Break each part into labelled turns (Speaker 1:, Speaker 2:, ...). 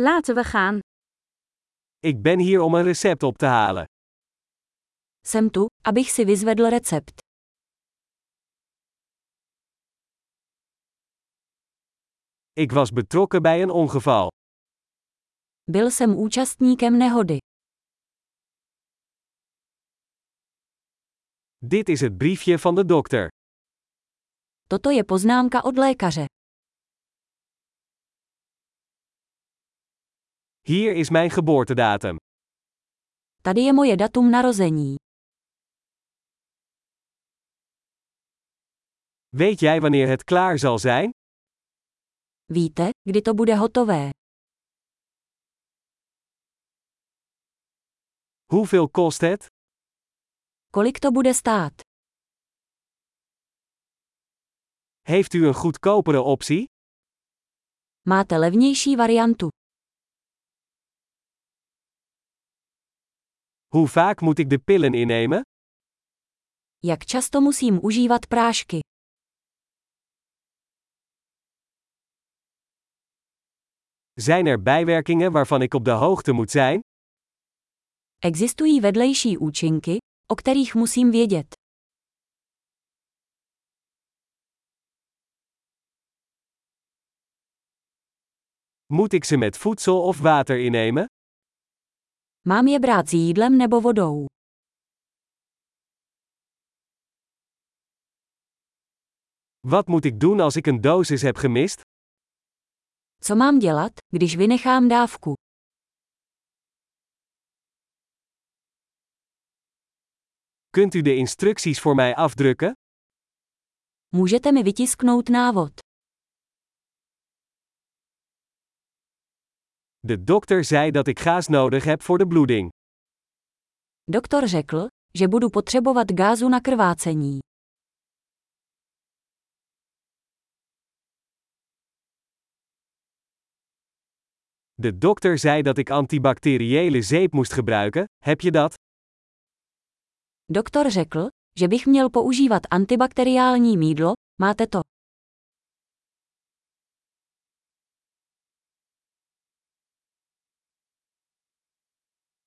Speaker 1: Laten we gaan.
Speaker 2: Ik ben hier om een recept op te halen.
Speaker 3: Jsem tu, abych si vyzvedl recept.
Speaker 2: Ik was betrokken bij een ongeval.
Speaker 3: Byl jsem účastníkem nehody.
Speaker 2: Dit is het briefje van de dokter.
Speaker 3: Toto je poznámka od lékaře.
Speaker 2: Hier is mijn geboortedatum.
Speaker 3: Tady je moje datum narození.
Speaker 2: Weet jij wanneer het klaar zal zijn?
Speaker 3: Víte, kdy to bude hotové?
Speaker 2: Hoeveel kost het?
Speaker 3: Kolik to bude stát?
Speaker 2: Heeft u een goedkopere optie?
Speaker 3: Máte levnější variantu.
Speaker 2: Hoe vaak moet ik de pillen innemen?
Speaker 3: Jak často musím užívat prášky?
Speaker 2: Zijn er bijwerkingen waarvan ik op de hoogte moet zijn?
Speaker 3: Existují vedlejší účinky, o kterých musím vědět.
Speaker 2: Moet ik ze met voedsel of water innemen?
Speaker 3: Mám je brát s jídlem nebo vodou?
Speaker 2: Wat moet ik doen als ik een dosis heb gemist?
Speaker 3: Co mám dělat, když vynechám dávku?
Speaker 2: Kunt u de instructies voor mij afdrukken?
Speaker 3: Můžete mi vytisknout návod.
Speaker 2: De dokter zei dat ik gaas nodig heb voor de bloeding.
Speaker 3: Doktor řekl, že budu potřebovat gázu na krvácení.
Speaker 2: De dokter zei dat ik antibacteriële zeep moest gebruiken. Heb je dat?
Speaker 3: Doktor řekl, že bych měl používat antibakteriální mídlo, máte to.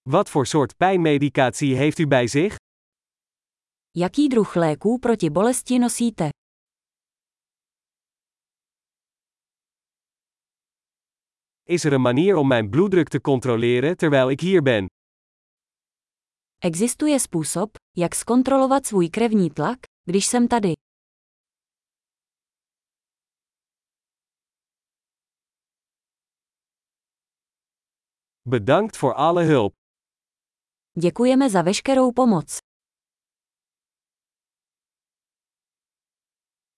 Speaker 2: Wat voor soort pijnmedicatie heeft u bij zich?
Speaker 3: Jaký druh léků proti bolesti nosíte?
Speaker 2: Is er een manier om mijn bloeddruk te controleren terwijl ik hier ben?
Speaker 3: Existuje způsob, jak zkontrolovat svůj krevní tlak, když jsem tady.
Speaker 2: Bedankt voor alle hulp.
Speaker 3: Děkujeme za veškerou pomoc.